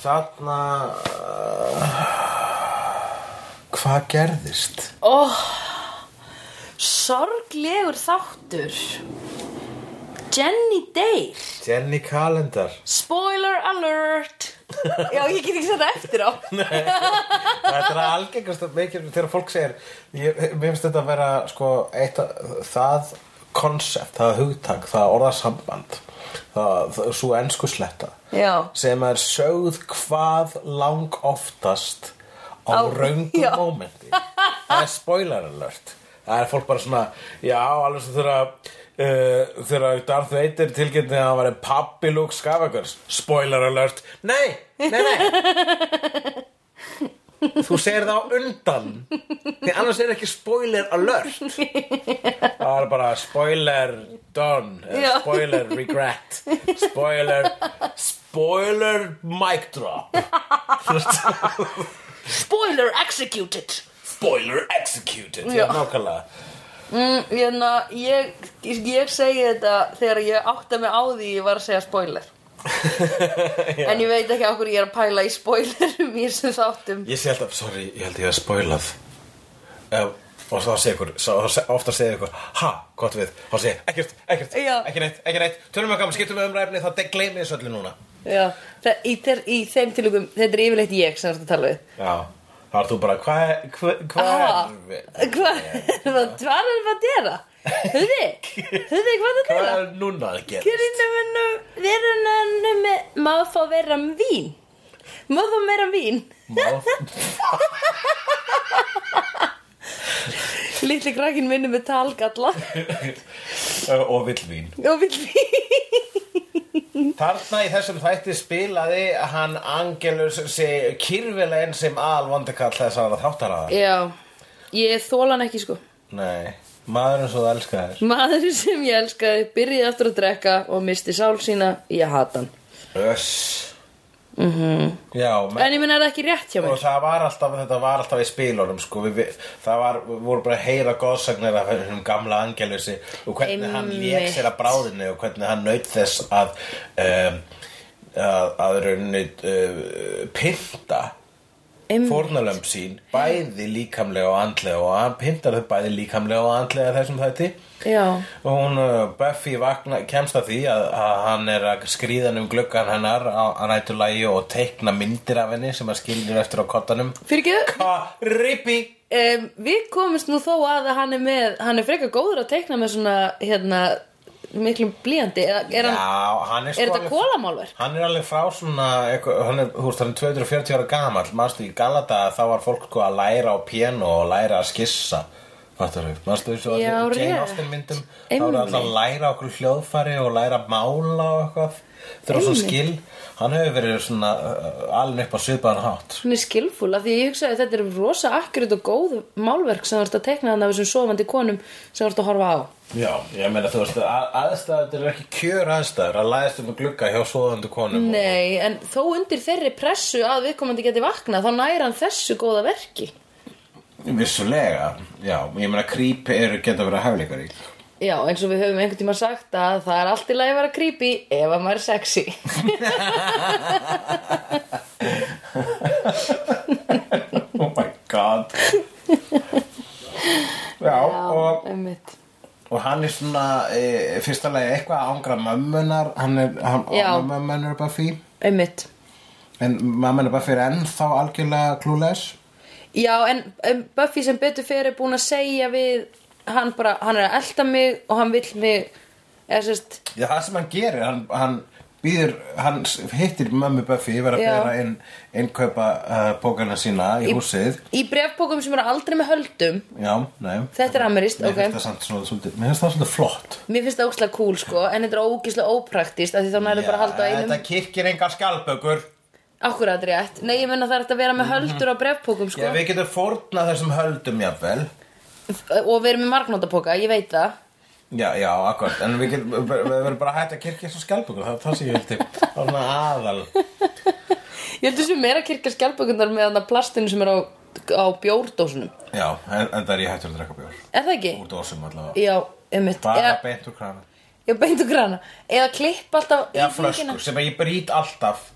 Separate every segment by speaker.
Speaker 1: þarna uh, hvað gerðist?
Speaker 2: oh, Sorglegur þáttur Jenny deyr
Speaker 1: Jenny Kalendar
Speaker 2: Spoiler alert Já, ég get ekki sett það eftir á
Speaker 1: þetta er algengast að mikið þegar fólk segir ég, mér finnst þetta að vera sko, eitt, að- það konsept, það hugtak, það orðasamband það, það svo ensku sletta
Speaker 2: Já.
Speaker 1: sem er sögð hvað lang oftast á,
Speaker 2: Á-
Speaker 1: raungum
Speaker 2: já.
Speaker 1: mómenti það er spoiler alert það er fólk bara svona já, alveg svo þegar uh, þegar Darth Vader tilgætni að hann var pappi Luke Skavagars spoiler alert, nei, nei, nei Þú segir það á undan Því annars er ekki spoiler alert Það er bara spoiler done
Speaker 2: Já.
Speaker 1: eða Spoiler regret Spoiler Spoiler mic drop
Speaker 2: Spoiler executed
Speaker 1: Spoiler executed Já,
Speaker 2: Já.
Speaker 1: nákvæmlega
Speaker 2: mm, hérna, ég, ég segi þetta þegar ég átta mig á því ég var að segja spoiler
Speaker 1: Já.
Speaker 2: En ég veit ekki á hverju ég er að pæla í spoilerum í þessum þáttum
Speaker 1: Ég sé alltaf, sorry, ég held ég að spoilað Ef- Og þá segir ykkur, svo- þá se- ofta segir ykkur Ha, gott við, þá segir ekkert, ekkert,
Speaker 2: Já.
Speaker 1: ekki neitt, ekki neitt Tölum að gaman, skiptum við um ræfni, þá de- gleymið þessu öllu núna
Speaker 2: Já, það, í, þeir, í þeim tilugum, þetta er yfirleitt ég sem þetta tala við.
Speaker 1: Já, þá er þú bara hvað hva, hva
Speaker 2: Ah,
Speaker 1: er
Speaker 2: Hvað hvað er það að gera? Höfði, höfði, hvað er það að
Speaker 1: hvað
Speaker 2: gera?
Speaker 1: er núna að gera?
Speaker 2: Hverinu verunum má fá vera um vín? Má fá vera um vín?
Speaker 1: Má-
Speaker 2: Lítli krakkin vinnur með talgalla
Speaker 1: og villvín
Speaker 2: og vill vín.
Speaker 1: Þarna í þessum þætti spilaði hann Angelus sig kyrfilegin sem alvondekall þess að þáttaraða
Speaker 2: Já, ég þóla hann ekki sko.
Speaker 1: Nei, maðurinn svo það elskaðir
Speaker 2: Maðurinn sem ég elskaði byrjaði aftur að drekka og misti sál sína, ég hata hann.
Speaker 1: Öss mm
Speaker 2: Mm-hmm.
Speaker 1: -hmm. Já, menn
Speaker 2: En ég minna er það ekki rétt hjá mér.
Speaker 1: og það var alltaf, þetta var alltaf í spilunum sko, við, við, það var, við vorum bara að heyra góðsagnir af hennum gamla angelusi og hvernig hann lék
Speaker 2: Einmitt.
Speaker 1: sér að bráðinu og hvernig hann naut þess að um, að, að rauninni uh, pynta
Speaker 2: Einmitt.
Speaker 1: fórnalömb sín bæði líkamlega og andlega og hann pyntar þau bæði líkamlega og andlega í þessum þætti
Speaker 2: Já.
Speaker 1: og hún uh, Buffy vakna, kemst að því að, að hann er að skríðan um gluggan hennar á, á nætulagi og teikna myndir af henni sem að skilur eftir á kottanum
Speaker 2: Fyrir ekki,
Speaker 1: Ha, rippi
Speaker 2: um, við komumst nú þó að að hann er með, hann er frekar góður að teikna með svona, hérna, miklum blíjandi, eða er
Speaker 1: Já,
Speaker 2: hann,
Speaker 1: hann er sko
Speaker 2: er þetta
Speaker 1: alveg-
Speaker 2: kólamálver?
Speaker 1: Hann er alveg frá svona, eitthvað- hann er, þú veist, hann er 240 ára gamall, manstu í Galata þá var fólk sko að læra á piano og læra að skissa, fattar við, manstu þessu
Speaker 2: Já,
Speaker 1: allir Jane
Speaker 2: rétt.
Speaker 1: Austen myndum, þá voru alltaf að
Speaker 2: Einmitt.
Speaker 1: læra okkur hljóðfæri og læra að mála og eitthvað, þegar svona
Speaker 2: Einmitt.
Speaker 1: skil, hann hefur verið svona uh, alveg upp á svipaðan hátt.
Speaker 2: Svona skilfúl, af því ég hugsaði að þetta er rosa akkurat og góð málverk sem þú ert að teikna hann af þessum sofandi konum sem þú ert að horfa á.
Speaker 1: Já, ég meina þú veist, að- aðstæður, þetta er ekki kjör aðstæður, að læðast um að glugga hjá svoðandi konum og-
Speaker 2: Nei, en þó undir þeirri pressu að viðkomandi geti vaknað, þá næra hann þessu góða verki.
Speaker 1: Vissulega, já, ég meina creep eru geta verið hæfleikari
Speaker 2: Já, eins og við höfum einhvern tíma sagt að það er allt í lagi að vera creepy ef að maður er sexy.
Speaker 1: Oh my god Já, og,
Speaker 2: einmitt.
Speaker 1: og hann er svona e, fyrsta lagi eitthvað að ángra mömmunar hann er, hann
Speaker 2: Já.
Speaker 1: ángra mömmunar bara fí
Speaker 2: Einmitt.
Speaker 1: en mömmunar bara fyrir ennþá algjörlega klúles
Speaker 2: Já, en, en Buffy sem betur fyrir er búin að segja við hann bara, hann er að elda mig og hann vill mig eða sérst,
Speaker 1: Já, það sem hann gerir, hann, hann býður, hann s- hittir mömmu Buffy vera að
Speaker 2: Já.
Speaker 1: bera inn, innkaupa uh, bókana sína í, húsið
Speaker 2: í brefbókum sem eru aldrei með höldum
Speaker 1: Já, nei
Speaker 2: Þetta er amerískt,
Speaker 1: Mér
Speaker 2: ok.
Speaker 1: finnst það samt svona, svolítið- mér finnst það svolítið flott
Speaker 2: Mér finnst það ógslag cool sko, en þetta er ógislega ópraktist af því þá nærðu bara að halda á
Speaker 1: Þetta
Speaker 2: einum
Speaker 1: kirkir engar skjálpökur
Speaker 2: Akkurat rétt, nei ég menna það er hægt að vera
Speaker 1: Mhm.
Speaker 2: með höldur á brefbókum sko
Speaker 1: Já, við getum fórnað þessum höldum jafnvel
Speaker 2: og vera með margnótapoka, ég veit það
Speaker 1: Já, já, akkurat En við getum, við við verðum bara að hætta að kirkja þessum skjálpökur Það er það sem ég vildi Það er svona aðal
Speaker 2: Ég held þessu meira kirkja skjálpökunar með þarna plastinu sem er á, á bjórdósunum
Speaker 1: Já, en, en það er ég hættur að drekka bjór
Speaker 2: Er það ekki?
Speaker 1: Úr dósum allavega
Speaker 2: Já, einmitt
Speaker 1: Bara
Speaker 2: Eða-
Speaker 1: beint úr krana
Speaker 2: Já, beint og grana Eða klipp alltaf í
Speaker 1: Já,
Speaker 2: flöskuna.
Speaker 1: flöskur sem ég brýt alltaf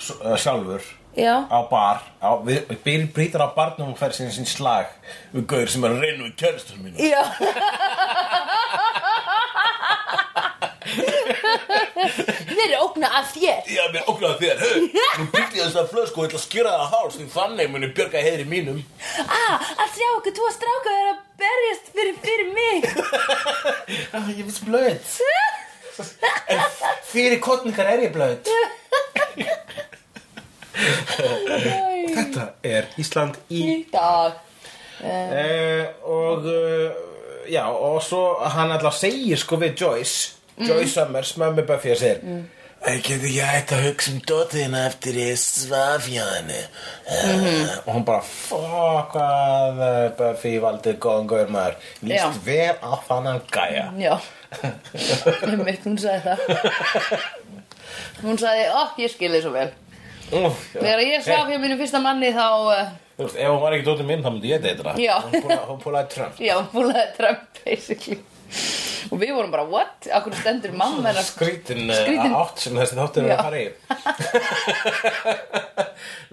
Speaker 1: s- eh, sjálfur
Speaker 2: Já.
Speaker 1: á bar á, við, við brýtar á barnum og fer síðan sín slag við gauður sem er að reyna við kjörstun mínu
Speaker 2: Já Þeir eru ógna að þér
Speaker 1: Já, mér oknaði þér, hei, nú byrti ég þess að flösku og ætla að skýra það að háls því þannig muni björga heiðri mínum
Speaker 2: ah, Að sjá okkur tvo stráka er að berjast fyrir, fyrir mig
Speaker 1: ah, Ég finnst blöð En fyrir kottningar er ég blöð
Speaker 2: Æ,
Speaker 1: Þetta er Ísland í
Speaker 2: Í dag
Speaker 1: Eh, og uh, já, og svo hann alltaf segir sko við Joyce
Speaker 2: Mm.
Speaker 1: Joyce Summers, mömmu Buffy að segir mm. Getur ég ætti að hugsa um dóttina eftir ég svaf hjá henni
Speaker 2: Mhm.
Speaker 1: mm Og hún bara Fuck að eh, Buffy valdið góðan góður maður Líst
Speaker 2: Já.
Speaker 1: vel á þannan gæja
Speaker 2: Já Mitt, hún sagði það Hún sagði, ó, ég skil þið svo vel
Speaker 1: Úff, já.
Speaker 2: Þegar ég svaf
Speaker 1: Hey,
Speaker 2: hjá mínum fyrsta manni þá uh,
Speaker 1: Þú veist, ef hún var ekki dóttin minn þá myndi ég deitra
Speaker 2: Já.
Speaker 1: Hún púlaði- Hún púlaði Trump
Speaker 2: Já, hún búlaði Trump basically Og við vorum bara, what? Akkur stendur mamma hennar
Speaker 1: Sko. skrítin,
Speaker 2: Skrítin.
Speaker 1: skrítin. átt sem þessi þáttur er
Speaker 2: Já.
Speaker 1: að fara í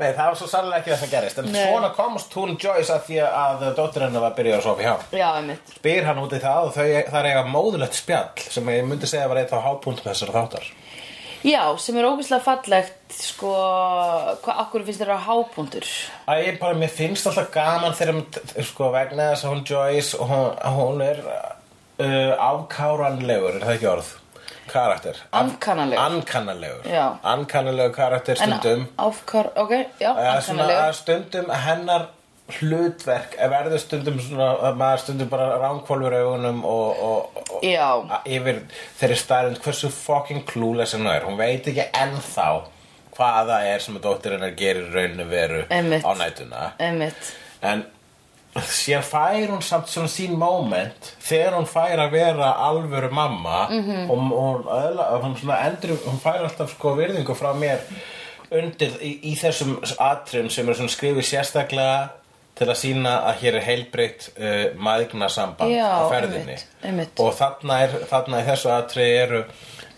Speaker 1: Nei, það var svo sannlega ekki það sem gerist en
Speaker 2: Nei.
Speaker 1: svona komst hún Joyce að því að dóttir hennar var að byrja að sofa hjá
Speaker 2: Já, einmitt
Speaker 1: spyr hann út í það og þau, það er eiga móðulegt spjall sem ég myndi segja var eitt á hápunkt með þessar þáttar
Speaker 2: Já, sem er ógeðslega fallegt sko, hvað okkur finnst þér að hápundur
Speaker 1: Æ, ég bara, mér finnst alltaf gaman þegar hún- sko, vegna þess að hún Joyce hún, hún er uh, afkáranlegur, er það ekki orð? karakter
Speaker 2: Ankannalegur.
Speaker 1: Ankannalegur.
Speaker 2: Já.
Speaker 1: Ankannalegur karakter stundum
Speaker 2: En áfkar, ok, já,
Speaker 1: Eða svona að
Speaker 2: ankannalegu
Speaker 1: stundum hennar hlutverk er verður stundum svona að maður stundum bara ránkvolfur augunum og, og, og
Speaker 2: Já,
Speaker 1: að- yfir þeirri stærund hversu fucking clueless hennar er hún veit ekki ennþá hvað það er sem að dóttir hennar gerir rauninu veru
Speaker 2: Einmitt.
Speaker 1: á nætuna
Speaker 2: einmitt
Speaker 1: en sér fær hún samt svona sín moment þegar hún fær að vera alvöru mamma
Speaker 2: Mhm.
Speaker 1: -hmm. og, og öðla, hún, svona endur, hún fær alltaf sko virðingu frá mér undir í, í þessum atrum sem er svona skrifið sérstaklega til að sína að hér er heilbreytt uh, maðgnasamband
Speaker 2: Já,
Speaker 1: á ferðinni
Speaker 2: einmitt, einmitt.
Speaker 1: og þarna, er, þarna í þessu atri eru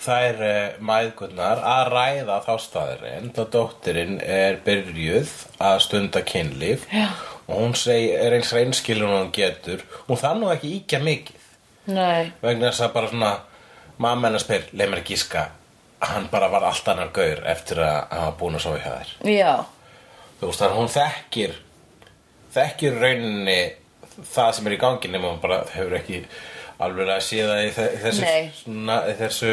Speaker 1: þær uh, mæðgurnar að ræða þá staðurinn þá dóttirinn er byrjuð að stunda kynlíf
Speaker 2: Já.
Speaker 1: og hún seg, er eins reynskilun og hún getur hún þann nú ekki íkja mikið
Speaker 2: Nei,
Speaker 1: vegna þess að bara svona mamma hennar spyr, leið mér að gíska hann bara var allt annar gaur eftir að hann var búin að sofa hjá þær
Speaker 2: já,
Speaker 1: þú veist þannig að hún þekkir þekkir rauninni það sem er í gangi nema hún bara hefur ekki alveg að sé það í þe- í þessu
Speaker 2: Nei.
Speaker 1: svona, í þessu,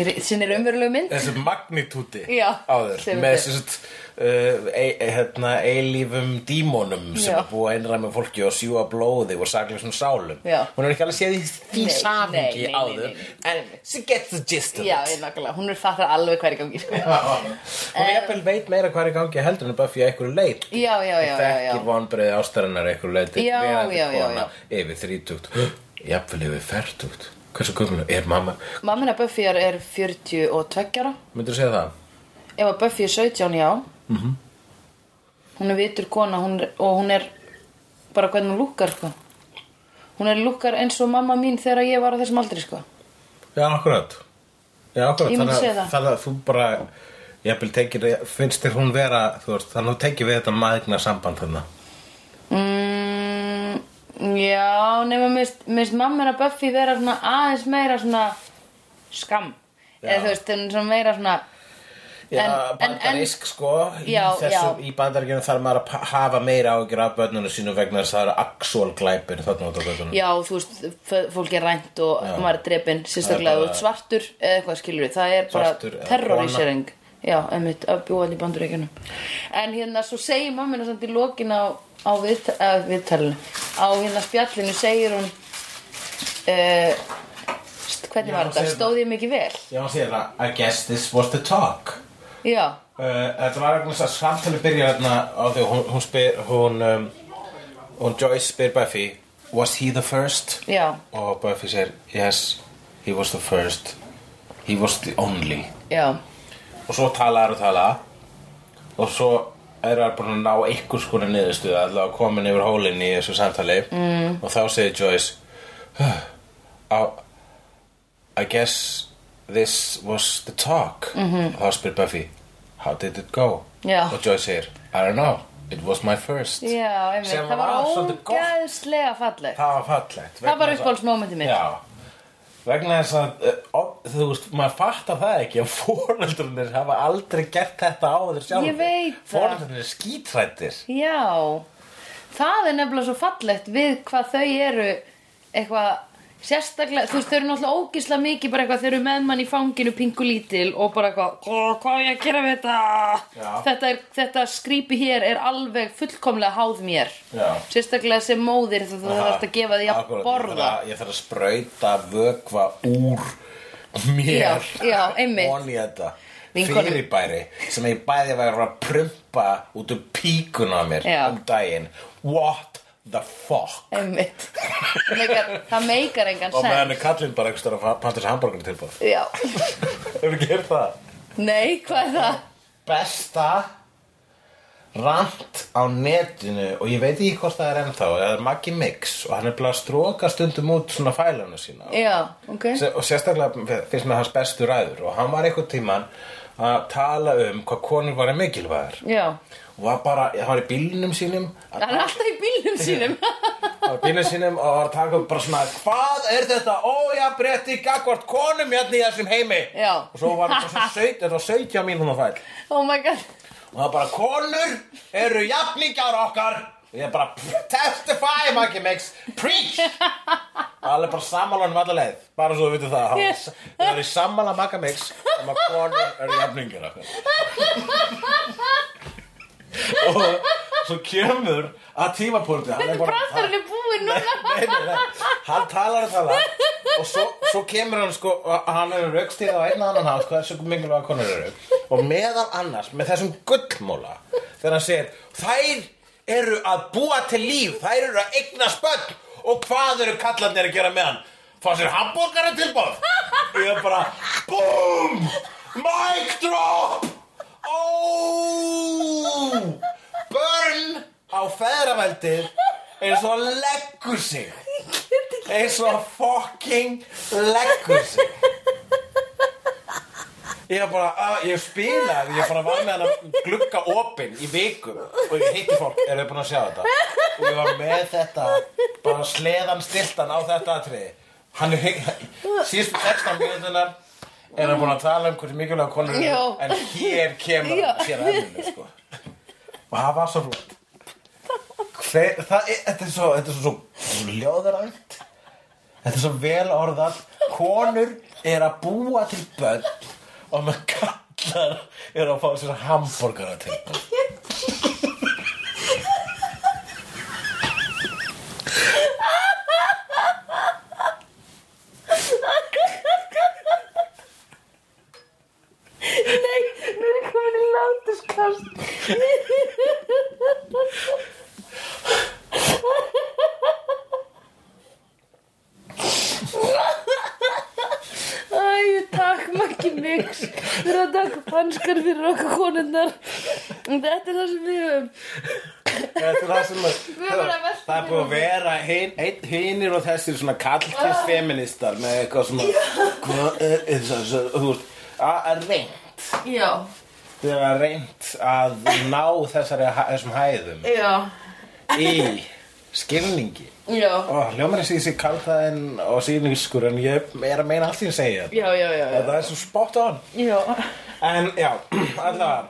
Speaker 2: í ri- sinni raunverulegu mynd
Speaker 1: þessu magnitúti
Speaker 2: Já,
Speaker 1: áður
Speaker 2: sem
Speaker 1: með
Speaker 2: þetta.
Speaker 1: þessu uh, e, e, hérna, eilífum dímonum sem
Speaker 2: Já.
Speaker 1: er búið að einræða með fólki og sjúa blóði og saklega svona sálum
Speaker 2: Já.
Speaker 1: hún er ekki alveg séð í því
Speaker 2: Nei, nei, nei,
Speaker 1: samhengi
Speaker 2: nei,
Speaker 1: áður
Speaker 2: nei, nei.
Speaker 1: en she gets the gist of
Speaker 2: Já,
Speaker 1: it
Speaker 2: ég nokkulega, hún er fattar alveg hver í gangi sko.
Speaker 1: hún er jafnvel veit meira hvað er í gangi heldur en bara fyrir einhverju leit
Speaker 2: Já, já, já, já, já
Speaker 1: þekkir vonbreiði ástarinnar einhver leiti
Speaker 2: Já, já, já,
Speaker 1: yfir þrítugt jafnvel yfir fertugt hversu gömlu er mamma
Speaker 2: Mammina Buffy er, er 42 ára
Speaker 1: myndur segja það
Speaker 2: Ef að Buffy er 17, já -hmm. Hún er vitur kona hún er, og hún er bara hvernig hún lúkkar sko. Hún er lúkkar eins og mamma mín þegar ég var á þessum aldri sko.
Speaker 1: já akkurat já akkurat
Speaker 2: Ég myndi
Speaker 1: þannig,
Speaker 2: segja
Speaker 1: að-
Speaker 2: það.
Speaker 1: þannig að þú bara jafnvel tekir finnst þér hún vera þú veist þannig að þú tekir við þetta maðgna samband þannig
Speaker 2: mm, Já, nema minnst, minnst mamma hennar Buffy vera svona aðeins meira svona skam
Speaker 1: Já.
Speaker 2: eða þú veist, hún er svona meira svona
Speaker 1: Já,
Speaker 2: En- en-
Speaker 1: bandarísk sko í,
Speaker 2: Já,
Speaker 1: þessum,
Speaker 2: já.
Speaker 1: í bandaríkjunum þarf maður að pa- hafa meira ágjur af börnunum sínum vegna þess að það eru actual glæpir þarna út á göttunum
Speaker 2: já, þú veist, f- fólk er rænt og
Speaker 1: Já.
Speaker 2: maður er
Speaker 1: Það
Speaker 2: drepin,
Speaker 1: er
Speaker 2: sérstaklega
Speaker 1: bara-
Speaker 2: þú ert svartur eða eitthvað skilur við, það er
Speaker 1: Svartur eða
Speaker 2: bara terrorisering Já, einmitt, að búa allir banduríkjunum En hérna, svo segir mamma hennar samt í lokin á, á viðt, äh, viðtalinu á hérna spjallinu segir hún uh, hvernig
Speaker 1: Já,
Speaker 2: var þetta,
Speaker 1: segir-
Speaker 2: stóð ég mikið vel
Speaker 1: Já, hún segir það I guess this was the talk
Speaker 2: Já,
Speaker 1: Uh, þetta var vegna þess að samtali byrja hérna á því að hún, hún spyr hún, um, hún Joyce spyr Buffy Was he the first?
Speaker 2: já
Speaker 1: Og Buffy segir Yes, he was the first He was the only
Speaker 2: Já,
Speaker 1: Og svo tala er og tala Og svo er það búin að ná einhvers konar niðurstuða allavega komin yfir hólinn í þessu samtali mm. Og þá segir Joyce "Huh, I, I guess this was the talk mm -hmm. Og þá spyr Buffy How did it go?
Speaker 2: Mhm. Já.
Speaker 1: Og Joy segir I don't know, it was my first
Speaker 2: Já, einmitt,
Speaker 1: Sem
Speaker 2: það var
Speaker 1: var svolítið gott.
Speaker 2: ógæðslega fallegt
Speaker 1: Það var fallegt
Speaker 2: Það var
Speaker 1: vegna þess að-
Speaker 2: uppáhaldsmómentið mitt.
Speaker 1: Já Vegna þess að, eh, o- þú veist, maður fattar það ekki að foreldrunir hafa aldrei gert þetta á þeir sjálf
Speaker 2: Ég veit það.
Speaker 1: Foreldrunir er skítrættir
Speaker 2: Já, það er nefnilega svo fallegt við hvað þau eru eitthvað sérstaklega, þú veist, þau eru náttúrulega ógisla mikið bara eitthvað, þau eru með mann í fanginu pingu lítil og bara eitthvað, "Ó, hvað á ég að gera við þetta?
Speaker 1: Já.
Speaker 2: Þetta, er, þetta skrípi hér er alveg fullkomlega háð mér.
Speaker 1: Já.
Speaker 2: Sérstaklega sem móðir þú þú þarft að gefa því að
Speaker 1: Akkúrat, Ég
Speaker 2: borða.
Speaker 1: þarf að, ég þarf að sprauta vökva úr mér
Speaker 2: Já, já, einmitt.
Speaker 1: Von í þetta
Speaker 2: Vinkonu-
Speaker 1: Fyrirbæri sem ég bæði var að prumpa út um píkuna á mér
Speaker 2: Já.
Speaker 1: um daginn What the fuck
Speaker 2: Einmitt. Það meikar- það meikar engan
Speaker 1: Og meðan
Speaker 2: sens.
Speaker 1: er kallinn bara einhvers stöðar að panta sér hambúrgar tilbúð
Speaker 2: Já.
Speaker 1: Hefur gert það?
Speaker 2: Nei, hvað er það?
Speaker 1: Besta rant á netinu og ég veit ekki hvort það er ennþá það er Maggi Mix og hann er bara að stróka stundum út svona fælanu sína
Speaker 2: Já, ok.
Speaker 1: Se- og sérstaklega finnst mér hans bestu ræður og hann var einhvern tíman að tala um hvað konur var mikilvæðar
Speaker 2: Já.
Speaker 1: og var bara, hann var í bílnum sínum að
Speaker 2: Það er alltaf í bílnum sínum.
Speaker 1: á bílnum sínum og var að taka upp bara svona hvað er þetta ójabrétti gagvart konum hérna í þessum heimi
Speaker 2: Já.
Speaker 1: og svo var þetta svo saut, þetta var 17 mínúna fæll
Speaker 2: Oh my god
Speaker 1: og það bara konur eru jafningjar okkar og ég bara "Pff, testify Maggie Mix preach alveg bara sammála hann alla leið bara svo þú vitið það hann-
Speaker 2: Yes.
Speaker 1: það er í sammála Maggie Mix um að konur eru jafningjar okkar og svo kemur að tímapunkti hann er
Speaker 2: Þetta
Speaker 1: bara-
Speaker 2: brandarinn er búinn núna
Speaker 1: Nei, nei, nei, hann talar og talar og svo, svo kemur hann sko og hann er raukstýð á einn og annan hátt hvað þessu mikilvæga konur eru og meðal annars með þessum gullmóla þegar hann segir þær eru að búa til líf þær eru að eigna spöll og hvað eru kallarnir að gera með hann fá sér hambúrgara tilbóð og ég bara BOOM mic drop óóóó börn á feðravældið eins og hann leggur sig eins og hann fucking leggur sig Ég er bara, að, ég spilaði, ég bara var með hann að glugga opinn í vikum og ég hitti fólk, eru þið búin að sjá þetta? Og ég var með þetta, bara sleðan stiltan á þetta atriði. Hann er síðustu 16 minútunar er hann búin að tala um hversu mikilvæg konur
Speaker 2: Já.
Speaker 1: eru, en hér kemur
Speaker 2: Já.
Speaker 1: hann sér að henni, sko. Og það var svo flott. Hver, það er, þetta er svo, þetta er svo, svo ljóðrænt. Þetta er svo vel orðað Konur er að búa til börn Og með kallar er að fá sér hambúrgara til börn
Speaker 2: Nei, nú er ég komin í látuskast Æ, takk Maggi Mix fyrir að taka panskar fyrir okkur konundar Þetta er það sem við höfum
Speaker 1: Þetta er það sem að,
Speaker 2: Við erum að velta
Speaker 1: Það er búið að vera hin- einn hinir og þessir svona kallkins
Speaker 2: Ah.
Speaker 1: feministar Með eitthvað svona Hvað er þess að Þú veist að- að reynt
Speaker 2: Já,
Speaker 1: Þau eru að reynt að ná þessari, hæ- þessum hæðum
Speaker 2: já,
Speaker 1: Í skilningi
Speaker 2: já
Speaker 1: Ó, hljómar þessi þessi kalltaðinn og síðningskur en ég er að meina allt því að segja þetta.
Speaker 2: Já, já, já, já.
Speaker 1: Það er svo spot on.
Speaker 2: Já,
Speaker 1: En já, allavega,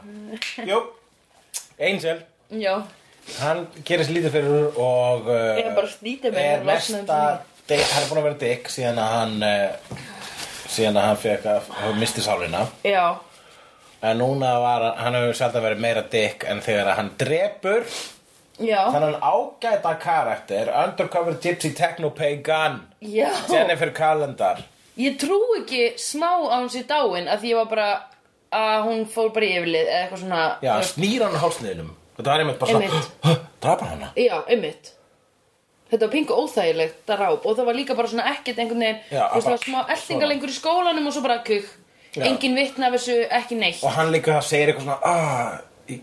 Speaker 1: jú, Angel,
Speaker 2: já
Speaker 1: hann gerist lítið fyrir og uh,
Speaker 2: Ég er bara að snýta mig, ég
Speaker 1: er
Speaker 2: er losna um
Speaker 1: mesta, dick, hann er búin að vera dick síðan að hann, uh, síðan að hann fekk að hann misti sálina.
Speaker 2: Já,
Speaker 1: En núna var, hann- hann hefur sjálf að vera meira dick en þegar að hann drepur
Speaker 2: já,
Speaker 1: þannig ágæta karakter, undercover gypsy techno-pagan,
Speaker 2: já
Speaker 1: Jennifer Calendar.
Speaker 2: Ég trú ekki smá að hún sé dáin að því ég var bara að hún fór bara í yfirlið eða eitthvað svona
Speaker 1: Já, hann snýr hann á hálsniðinum Þetta var einmitt bara
Speaker 2: Einmitt.
Speaker 1: svona Drapa hana
Speaker 2: já einmitt Þetta var pingu óþægilegt að ráp og það var líka bara svona ekkert einhvern veginn
Speaker 1: Já,
Speaker 2: þú veist
Speaker 1: bara-
Speaker 2: það var smá eltinga lengur í skólanum og svo bara kukk
Speaker 1: Já.
Speaker 2: Engin vitna af þessu, ekki neitt
Speaker 1: Og hann líka segir eitthvað svona ah, í,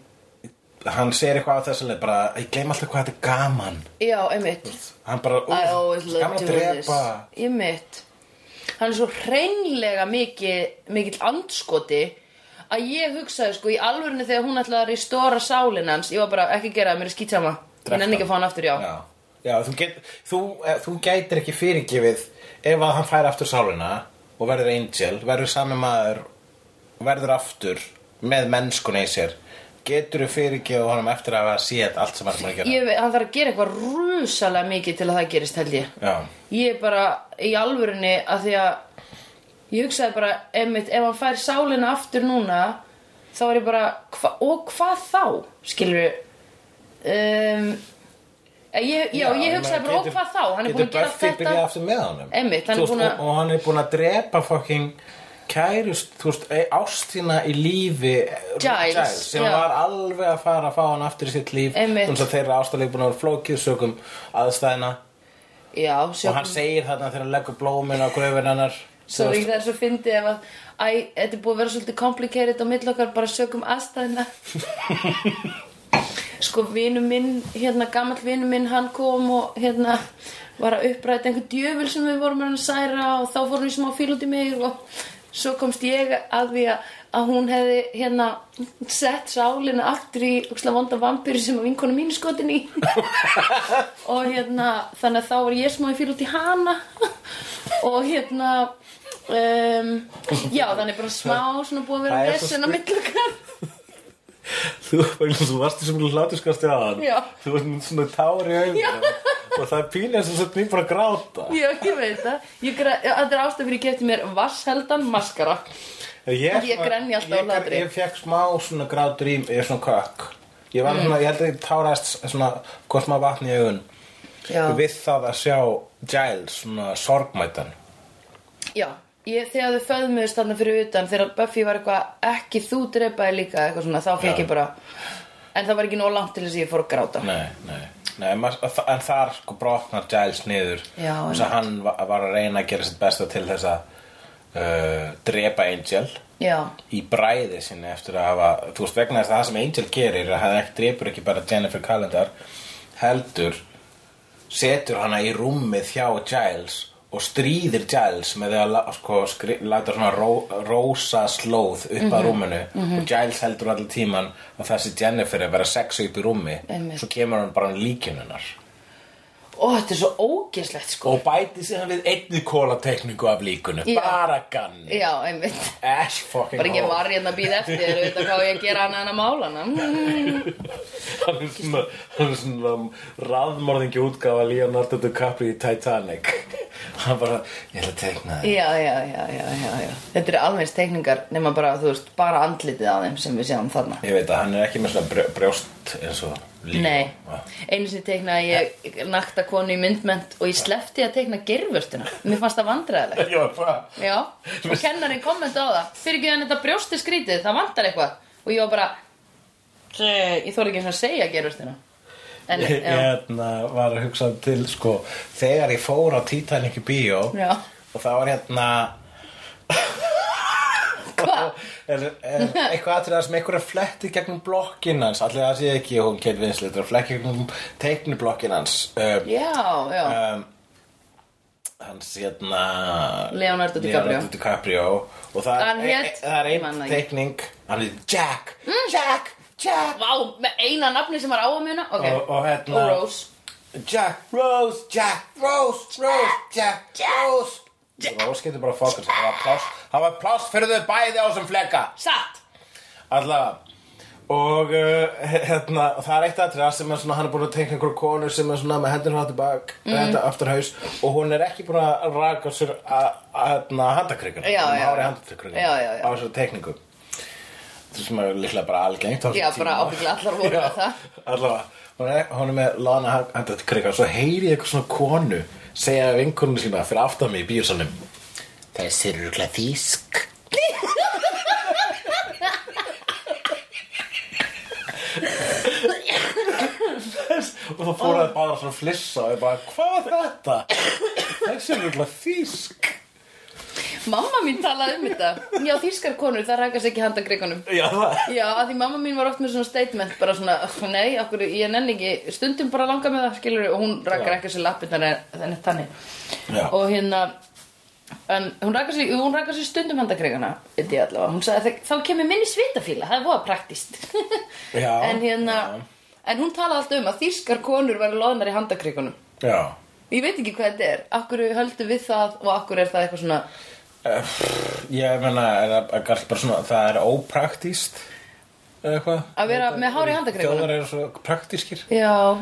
Speaker 1: Hann segir eitthvað á þessu leið bara Ég gleym alltaf hvað þetta er gaman
Speaker 2: Já, einmitt
Speaker 1: Hann bara,
Speaker 2: I always
Speaker 1: úf,
Speaker 2: love
Speaker 1: gaman
Speaker 2: to
Speaker 1: að
Speaker 2: do this
Speaker 1: drepa
Speaker 2: Einmitt Hann er svo hreinlega mikið mikill andskoti að ég hugsaði sko í alvörinu þegar hún ætlaði að restóra sálinn hans ég var bara ekki gera það, mér er skýtsama ég nenni ekki að fá hann aftur, já,
Speaker 1: Já, já þú, get, þú, eh, þú gætir ekki fyrirgefið ef að hann fær aftur sálina og verður angel, verður sami maður og verður aftur með mennskuna í sér getur þú fyrirgefið honum eftir að hafa séð allt sem hann er búinn að gera
Speaker 2: Ég, veit- hann þarf að gera eitthvað rúsalega mikið til að það gerist held ég
Speaker 1: Já,
Speaker 2: ég er bara í alvörunni að því að ég hugsaði bara einmitt, ef hann fær sálina aftur núna þá er ég bara hva, og hvað þá skilur við um, ég, já, ég
Speaker 1: ég meina,
Speaker 2: hugsaði
Speaker 1: getur-
Speaker 2: bara og hvað þá hann er
Speaker 1: getur
Speaker 2: búin að gera
Speaker 1: Buffy
Speaker 2: þetta
Speaker 1: byrjað aftur með honum
Speaker 2: Einmitt, hann
Speaker 1: Þú
Speaker 2: er
Speaker 1: veist,
Speaker 2: búin að-
Speaker 1: og, og hann er búin að drepa fucking kærust, þú veist, e- ástina í lífi eh,
Speaker 2: Giles,
Speaker 1: sem
Speaker 2: já.
Speaker 1: var alveg að fara að fá hann aftur í sitt líf
Speaker 2: Einmitt.
Speaker 1: þannig að þeirra ástalegi búin að vera flókið sögum aðstæðina
Speaker 2: já,
Speaker 1: og hann
Speaker 2: sjókum
Speaker 1: segir þarna þegar hann leggur blómin á gröfin hennar
Speaker 2: Svo ég það er svo fyndið ef að Æ, þetta er búið að vera svolítið complicated á milli okkar bara sögum aðstæðina Sko vinu minn hérna, gamall vinu minn hann kom og hérna var að uppræta einhver djöful sem við vorum með hann að særa og þá fór hann í smá fíl út í mig og svo komst ég að því að, að hún hefði hérna sett sálina aftur í ókslega vonda vampýri sem að vinkonu mínu skotin í og hérna þannig að þá var ég smá í fyrir út í hana og hérna um, já þannig bara smá svona búið að vera
Speaker 1: Það er svo
Speaker 2: vesen á milli okkar
Speaker 1: Þú, vegna þess að þú varst þessum hlátuskasti á hann
Speaker 2: Já.
Speaker 1: Þú varst með svona tári auðvitað Og það er pínlega sem sett mér bara að gráta
Speaker 2: já ég veit það Ég gra- já, þetta er ástæð fyrir ég kefti mér vassheldan maskara
Speaker 1: Ég,
Speaker 2: Ég grenja alltaf á
Speaker 1: ég-
Speaker 2: hlátri.
Speaker 1: Ég fekk smá svona grátur í ég er svona kökk Ég
Speaker 2: Mm.
Speaker 1: var svona, ég held að ég táraðist svona hvort maður vatni í augun
Speaker 2: já,
Speaker 1: við það að sjá Giles svona sorgmætan
Speaker 2: já. Ég, þegar þau föðmuðust þarna fyrir utan þegar Buffy var eitthvað ekki þú dreipaði líka eitthvað svona þá fekk
Speaker 1: Já.
Speaker 2: ég bara en það var ekki nóg langt til þess að ég fór að gráta
Speaker 1: Nei, nei, nei en, maður- en þar sko brotnar Giles niður
Speaker 2: Já,
Speaker 1: þess að hann va- var að reyna að gera sitt besta til þess að uh, drepa Angel
Speaker 2: já
Speaker 1: í bræði sinni eftir að hafa þú veist vegna þess að það sem Angel gerir að hann ekki drepur ekki bara Jennifer Calendar heldur setur hana í rúmið hjá Giles og stríðir Giles með því að la- sko, skri, láta svona ró, rosa slóð upp
Speaker 2: Mhm.
Speaker 1: að rúminu og Giles heldur allir tíman að þessi Jennifer er að vera sexu upp í rúmi
Speaker 2: Einmitt.
Speaker 1: svo kemur hann bara um líkinunar
Speaker 2: og þetta er svo ógeslegt sko
Speaker 1: og bæti sig hann við einni kólatekningu af líkunu
Speaker 2: Já.
Speaker 1: bara ganni
Speaker 2: já einmitt
Speaker 1: Ash fucking
Speaker 2: bara ekki
Speaker 1: hole.
Speaker 2: var hérna að býða eftir þér auðvitað hvað á ég að gera annað en að mála hana Mm.
Speaker 1: hann er svona, hann er svona raðmorðingi útgáfa Leonardo DiCaprio í Titanic hann bara, ég ætla að tekna þig
Speaker 2: já, já, já, já, já, já þetta eru alveg eins teikningar nema bara, þú veist, bara andlitið að þeim sem við sjáum þarna
Speaker 1: ég veit að hann er ekki með svona brjó, brjóst eins og líka
Speaker 2: nei, einu sinni teiknaði ég nakta konu í myndment og ég slefti að teikna gerfurtuna mér fannst það vandræðilegt
Speaker 1: já, hvað
Speaker 2: já, og kennarinn kommenta á það fyrir ekki þannig þetta brjósti skrítið, það vandar eitthvað og ég var bara "Eh, ég þóra ekki eins og að segja gerfurtuna en,
Speaker 1: ég
Speaker 2: já,
Speaker 1: hérna, var að hugsa til sko, þegar ég fór á Titanic í bíó
Speaker 2: Já.
Speaker 1: og það var hérna
Speaker 2: hvað?
Speaker 1: er, er, eitthvað aðtrið það sem einhverja fletti gegnum blokkin hans allir það sé ekki hún Kate Winslet er að fletti gegnum teikniblokkin hans um,
Speaker 2: já, já,
Speaker 1: um, hans hérna
Speaker 2: Leonardo DiCaprio.
Speaker 1: Leonardo DiCaprio og það,
Speaker 2: Hann hét-
Speaker 1: e, það er
Speaker 2: ég
Speaker 1: ein
Speaker 2: man það ekki. Mm.
Speaker 1: teikning hann er Jack, Jack, Jack
Speaker 2: vá, með eina nafni sem var á að muna ok,
Speaker 1: og, og hérna
Speaker 2: og Rose
Speaker 1: Jack, Rose, Jack, Rose, Rose, Jack, Rose Rose getur bara fokast það var pláss, það var pláss fyrir þau bæði á sem flekka
Speaker 2: Satt
Speaker 1: allavega og uh, hérna, það er eitt aðtrið sem er svona, hann er búin að teikna einhver konu sem er svona með hendur hátu bak
Speaker 2: Mhm.
Speaker 1: mm. þetta aftur haus og hún er ekki búin að raka á sér að að- hérna handakrykkur
Speaker 2: Já, já, já. Já, já, já.
Speaker 1: á sér teikningu það sem er líklega bara algengt á þessum
Speaker 2: Já, bara
Speaker 1: tíma.
Speaker 2: ábyggilega allar voru
Speaker 1: Já,
Speaker 2: með það.
Speaker 1: allavega hún er, hún er með lana handakrykkur svo heyri ég eitthvað svona konu segja vinkunum sína fyrir aftan mig í bíursalum þessir eru glæð þýsk og það fór að bara svona flissa og ég bara, hvað er þetta? þessi er rúglega þýsk
Speaker 2: Mamma mín talaði um þetta Já, þýskar konur, það rækast ekki handa greikunum
Speaker 1: já það
Speaker 2: Já, að því mamma mín var oft með svona statement bara svona, "Ugh, nei, okkur, ég nenni ekki stundum bara langa með það, skilur og hún rækar
Speaker 1: Já.
Speaker 2: ekki sér lappirnar en en þannig
Speaker 1: Já.
Speaker 2: og hérna En hún rækkar sér, jú, hún rækkar sér stundum handakrigana, veit ég allavega. Hún sagði að þá kemur minni svitafíla, það er voða praktist.
Speaker 1: Já,
Speaker 2: en hérna, en hún talaði alltaf um að þýskar konur væri loðnar í handakrigunum.
Speaker 1: Já
Speaker 2: Ég veit ekki hvað þetta er. Akkur höldum við það og akkur er það eitthvað svona,
Speaker 1: Eh, pff, Ég meina, er það er kannski bara svona, það er ópraktíst eða eitthvað
Speaker 2: Að vera með hár í handagreifanum?
Speaker 1: Þjóðar eru svo praktískir
Speaker 2: já,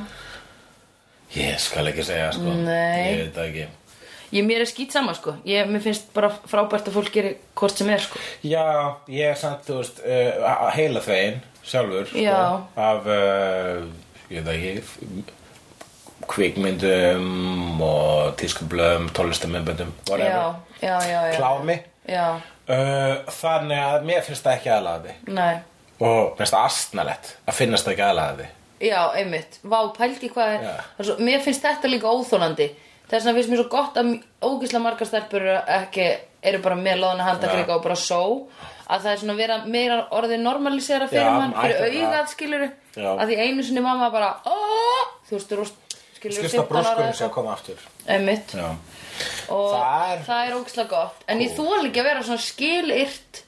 Speaker 1: Ég skal ekki segja, sko
Speaker 2: Nei.
Speaker 1: Ég veit það ekki
Speaker 2: ég mér er skýt sama, sko. Ég, mér finnst bara frábært að fólk gerir hvort sem er, sko.
Speaker 1: Já, ég er samt, þú veist, uh, heila þvegin sjálfur sko,
Speaker 2: Já.
Speaker 1: af, uh, ég veit ekki, kvikmyndum og tískublöðum, tónlistamöndböndum,
Speaker 2: Já,
Speaker 1: whatever,
Speaker 2: já, já, já.
Speaker 1: klámi.
Speaker 2: Já,
Speaker 1: Uh, þannig að mér finnst það ekki aðlaði
Speaker 2: nei.
Speaker 1: og mér finnst það astnalett að finnast það ekki aðlaði.
Speaker 2: Já, einmitt. Vá, pældi hvað er...
Speaker 1: Já.
Speaker 2: það er Svo, mér finnst þetta líka óþólandi. Þess vegna finnst mér svo gott að ógislega margar stelpur eru ekki eru bara með loðana handakreika og bara só að það er svona vera meira orðið normalisera fyrir
Speaker 1: Já,
Speaker 2: mann, fyrir
Speaker 1: ætla-
Speaker 2: augað skilur
Speaker 1: Já.
Speaker 2: að því einu sinni mamma bara "Ó!" þú veist, þú veist, skilur
Speaker 1: Skilst það brúskum sem koma aftur.
Speaker 2: einmitt
Speaker 1: Já.
Speaker 2: og
Speaker 1: Það
Speaker 2: það
Speaker 1: er-
Speaker 2: er, það ógislega gott en ég þól ekki að vera svona skilyrt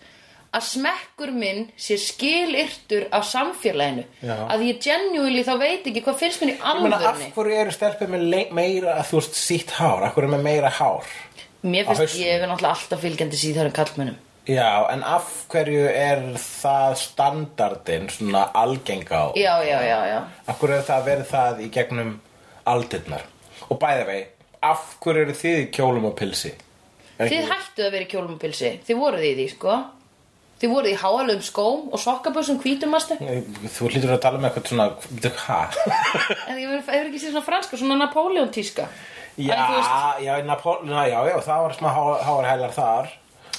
Speaker 2: að smekkur minn sé skilyrtur af samfélaginu
Speaker 1: Já.
Speaker 2: að ég genuinely þá veit ekki hvað finnst minn í
Speaker 1: Ég meina, af
Speaker 2: alvörni
Speaker 1: hverju eru stelpur með le- meira, þú veist, sítt hár? Af hverju er með meira hár?
Speaker 2: mér
Speaker 1: á
Speaker 2: finnst
Speaker 1: hausnum?
Speaker 2: ég er náttúrulega alltaf fylgjandi síðan kallmennum
Speaker 1: Já, en af hverju er það standardin svona algeng á?
Speaker 2: já, já, já, já
Speaker 1: Af hverju er það verið það í gegnum aldirnar? Og bæði vei, af hverju eru þið í kjólum og pilsi? Er
Speaker 2: þið hættuð að vera í kjólum og pilsi þið voruð í því, sko þið voruð í háalöfum skóm og sokkabössum hvítumastu
Speaker 1: ekki- Þú hlýtur að tala með eitthvað svona, veitu, hæ?
Speaker 2: en ég hefur hefur ekki séð svona franska, svona Napoleon tíska
Speaker 1: já,
Speaker 2: en þú veist,
Speaker 1: já, Napol, na, já, já, það var smá háar heilar þar.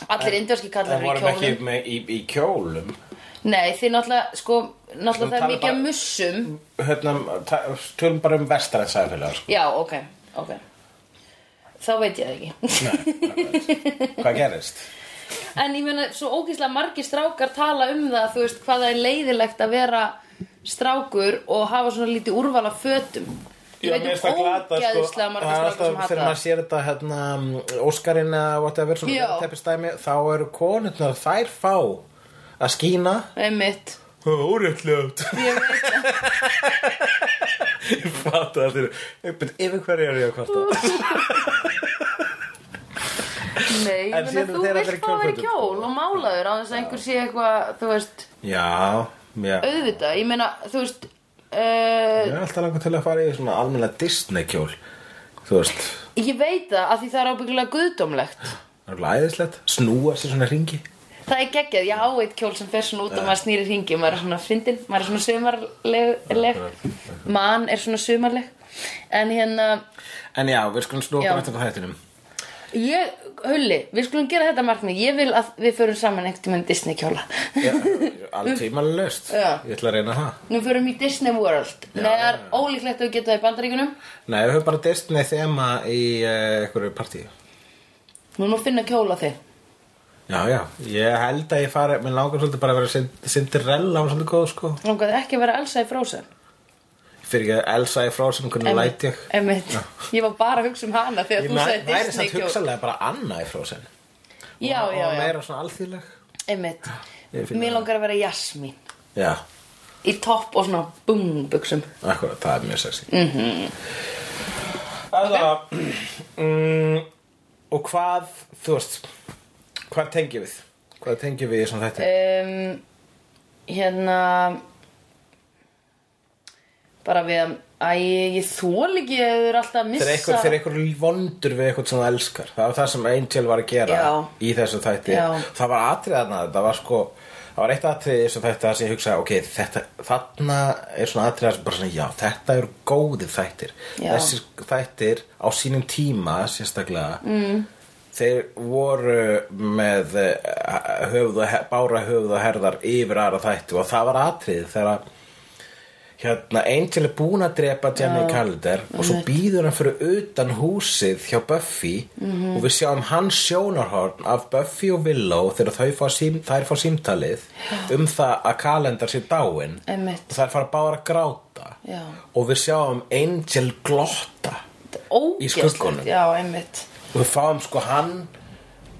Speaker 2: allir indverski kallar
Speaker 1: Það
Speaker 2: eru í
Speaker 1: vorum
Speaker 2: kjólum
Speaker 1: ekki með, í, í kjólum.
Speaker 2: Nei, þið náttúrulega, sko, náttúrulega
Speaker 1: Skulum
Speaker 2: það er
Speaker 1: tala
Speaker 2: mikið
Speaker 1: bara-
Speaker 2: að mussum
Speaker 1: Hérna, ta- tölum bara um vestræn sæðfélag, sko.
Speaker 2: Já, ok, ok Þá veit ég það ekki
Speaker 1: sko. Hvað gerist?
Speaker 2: En ég meina, svo ógeðslega margir strákar tala um það, þú veist, hvað það er leiðilegt að vera strákur og hafa svona lítið úrval af fötum Ég
Speaker 1: Já,
Speaker 2: veit
Speaker 1: mér finnst
Speaker 2: um
Speaker 1: það glata sko.
Speaker 2: ógeðslega
Speaker 1: Það
Speaker 2: margir
Speaker 1: er
Speaker 2: strákar sem
Speaker 1: alltaf
Speaker 2: hata
Speaker 1: fyrir maður
Speaker 2: það
Speaker 1: sér þetta hérna, mm, Óskarinn eða whatever
Speaker 2: Já.
Speaker 1: svona teppistæmi, þá eru konurnar þær fá að skína
Speaker 2: Einmitt
Speaker 1: óréttljótt
Speaker 2: Ég veit það
Speaker 1: Ég fatt að þetta er yfir hverju er ég að kvarta
Speaker 2: Nei, ég
Speaker 1: En
Speaker 2: meina,
Speaker 1: síðan eru
Speaker 2: þú
Speaker 1: þeir allir
Speaker 2: vilt
Speaker 1: í
Speaker 2: fá að vera í
Speaker 1: kjólfötum.
Speaker 2: kjól og málaður á þess að einhver sé eitthvað, þú veist,
Speaker 1: Já, já
Speaker 2: auðvitað Ég meina, þú veist, uh,
Speaker 1: Ég er alltaf langar til að fara í svona almennlega Disney kjól Þú veist,
Speaker 2: Ég veit það að því það er ábyggulega guðdómlegt
Speaker 1: það er læðislegt Snúa sér svona ringi
Speaker 2: Það er geggjað, ég á eitt kjól sem fer svona út
Speaker 1: Eh.
Speaker 2: og maður snýri hringi og maður er svona fyndin, maður er svona sumarleg mann er svona sumarleg en hérna,
Speaker 1: En já, við skulum snúa
Speaker 2: Já.
Speaker 1: okkur eftir hvað þættinum
Speaker 2: ég, Hulli við skulum gera þetta markmið, ég vil að við förum saman einhvern tímann Disney kjóla
Speaker 1: Allt tímanlega löst
Speaker 2: Já.
Speaker 1: Ég ætla að reyna það
Speaker 2: Nú förum í Disney World Nei, það er ólíklegt að við geta það í bandaríkunum
Speaker 1: Nei, við höfum bara Disney þema í uh, einhverju partíu
Speaker 2: Nú má finna kjóla þig
Speaker 1: Já, já, ég held að ég fari Mér langar svolítið bara að vera Cin- Cinderella Hún er svolítið góð, sko
Speaker 2: Langaði ekki að vera Elsa í Frozen
Speaker 1: Fyrir ekki að Elsa í Frozen, hvernig læt ég
Speaker 2: Einmitt, ég var bara að hugsa um hana þegar
Speaker 1: Ég
Speaker 2: þú sagði
Speaker 1: næ- væri
Speaker 2: Disney
Speaker 1: samt
Speaker 2: kjól
Speaker 1: hugsalega bara Anna í Frozen
Speaker 2: Já,
Speaker 1: og,
Speaker 2: já,
Speaker 1: Og
Speaker 2: já
Speaker 1: meira svona alþýðleg
Speaker 2: Einmitt.
Speaker 1: Ég fíla
Speaker 2: Mér langar að vera Jasmín
Speaker 1: Já,
Speaker 2: Í topp og svona bum buksum
Speaker 1: akkurat, það er mjög sexy mm
Speaker 2: Mhm.
Speaker 1: -hmm. mm, Og hvað, þú veist Hvað tengjum við? Hvað tengjum við í svona þetta?
Speaker 2: um, Hérna Bara við að Æ, ég þól ekki að þau eru alltaf að missa
Speaker 1: Þegar einhver, þegar einhver vondur við eitthvað sem það elskar Það var það sem Angel var að gera
Speaker 2: Já.
Speaker 1: í þessu þætti
Speaker 2: Já.
Speaker 1: Það var atriðarna, það var sko Það var eitt atrið í þessu þætti þar sem ég hugsaði Ok, þetta, þarna er svona atrið bara svona, Já, þetta eru góðir þættir
Speaker 2: Já.
Speaker 1: Þessir þættir á sínum tíma sérstaklega mm. Þeir voru með eh, höfuð og, he- bára höfuð og herðar yfir aðra þætti og það var atrið þegar að hérna, Angel er búin að drepa Jenny Calder og svo býður hann fyrir utan húsið hjá Buffy og við sjáum hans sjónarhorn af Buffy og Willow þegar þau fá sím, þær fá símtalið um það að Calendar sé dáin
Speaker 2: Einmitt.
Speaker 1: og þær fara bara að gráta
Speaker 2: Já.
Speaker 1: og við sjáum Angel glotta
Speaker 2: Ógeðslegt.
Speaker 1: í skuggunum.
Speaker 2: Já, einmitt
Speaker 1: og við fáum sko hann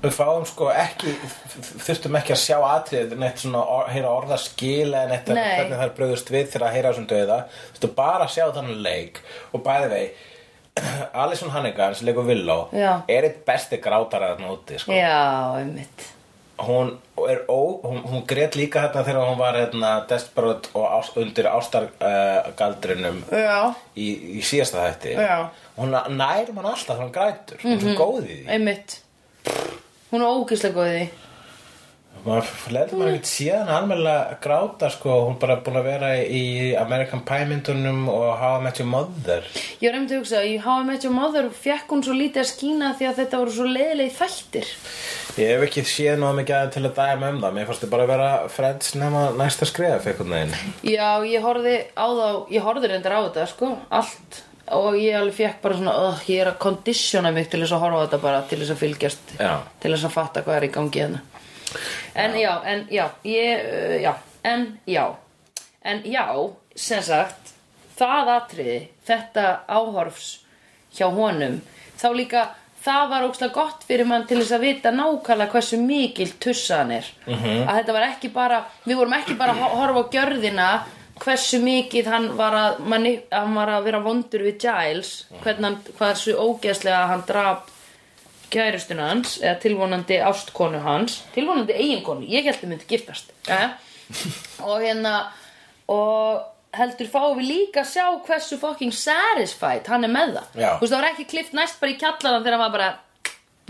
Speaker 1: við fáum sko ekki þurftum ekki að sjá atrið neitt svona or, heyra orða skila en eitt
Speaker 2: Nei.
Speaker 1: hvernig það er bröðust við þegar að heyra þessum döiða þurftum bara að sjá þannig leik og bæði vei Alison Hannigan sem leikur Villó
Speaker 2: Já.
Speaker 1: er eitt besti grátara þarna úti sko.
Speaker 2: Já, einmitt
Speaker 1: hún er ó, hún, hún grét líka hérna þegar hún var hérna desperat og ást, undir ástargaldrinum uh, galdrinum
Speaker 2: Já,
Speaker 1: í, í síðasta þætti
Speaker 2: Já. Mhm.
Speaker 1: hún nær mann alltaf þegar hún grætur hún er svo góð í því
Speaker 2: einmitt Hún er ógislega góð í því
Speaker 1: maður leður maður ekkert síðan almennilega gráta sko hún er bara búin að vera í American Pie myndunum og How I Met Your Mother
Speaker 2: Ég var einmitt að hugsa, í How I Met Your Mother fekk hún svo lítið að skína því að þetta voru svo leiðilegi þættir
Speaker 1: ég hef ekki séð náðum mikið að til að dæma um það mér fannst þið bara að vera freds nema næsta skref einhvern veginn
Speaker 2: Já, ég horfði á þá, ég horfði reyndar á þetta, sko, allt og ég alveg fekk bara svona, uh, ég er að kondisjona mig til þess að horfa á þetta bara, til þess að fylgjast,
Speaker 1: Já.
Speaker 2: til þess að fatta hvað er í gangi hérna. En já, en já, ég, uh, já, en já, en já, sem sagt, það atriði, þetta áhorfs hjá honum, þá líka, það var ógstlega gott fyrir mann til þess að vita nákvæmlega hversu mikil tussa hann er. -hmm. Að þetta var ekki bara, við vorum ekki bara að ho- horfa á gjörðina hversu mikið hann var að, manni, hann var að vera vondur við Giles, hvernig hann, hversu ógeðslega hann drap kærustuna hans eða tilvonandi ástkonu hans tilvonandi eiginkonu, ég held að myndi giftast eh? og hérna og heldur fáum við líka að sjá hversu fucking satisfied hann er með það
Speaker 1: Já.
Speaker 2: Þú veist, það var ekki klift næst bara í kjallaran þegar hann var bara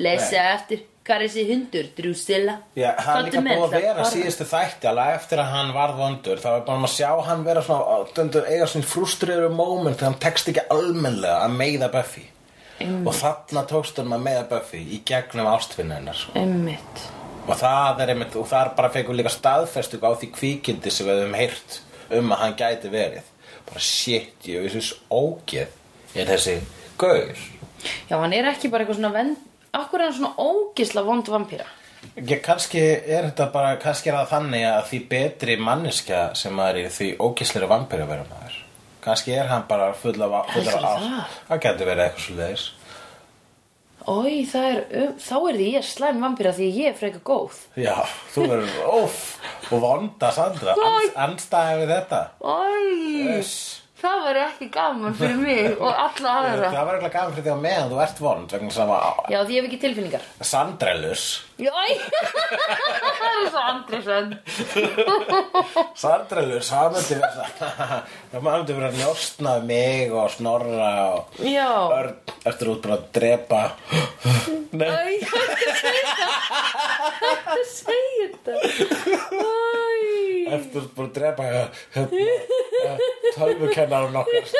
Speaker 2: blessa eftir, hvað er þessi hundur drústilla,
Speaker 1: Já, hann er líka búið að vera síðustu þætti alveg eftir að hann varð vondur þá er bara maður að sjá hann vera svona dundur, eiga svona frustriður moment þegar hann tekst ekki almennlega að meiða Buffy og þarna tókst hann að meiða Buffy í gegnum ástfinna hennar sko.
Speaker 2: einmitt
Speaker 1: og það er einmitt, og þar bara fegum líka staðfestu á því kvíkindi sem við höfum heyrt um að hann gæti verið bara shit, ég veist þess ógeð er þessi gaur
Speaker 2: já, hann er ekki bara eitthvað svona vend akkur er hann svona ógisla vond vampíra
Speaker 1: Ég, kannski er þetta bara, kannski er það þannig að því betri manneskja sem maður er í því ógisleiri vampíru verður maður. Kannski er hann bara full af, full af
Speaker 2: Heldurðu það?
Speaker 1: ást. Það getur verið eitthvað svo leiðis.
Speaker 2: Ói, það er, um- þá er því ég slæm vampíra því ég er freka góð
Speaker 1: Já, þú verður óf og vonda Sandra,
Speaker 2: Nei.
Speaker 1: Ans, anstæði við þetta.
Speaker 2: Ói,
Speaker 1: Uss.
Speaker 2: það var ekki gaman fyrir mig og alla
Speaker 1: Það
Speaker 2: aðra
Speaker 1: var eitthvað gaman fyrir því á meðan þú ert vond vegna sem að
Speaker 2: Já, því ég hef ekki tilfinningar
Speaker 1: Sandrelus
Speaker 2: Jói, það er svo Andrisson
Speaker 1: Sandrelus, hann myndi vera hann myndi vera að njóstna mig og snorra og
Speaker 2: Já
Speaker 1: örn eftir út bara að drepa Nei
Speaker 2: Æ, ég hætti að segja það Hætti að segja það Æ
Speaker 1: eftir búin að drepa eh, hérna tölvukennarum okkar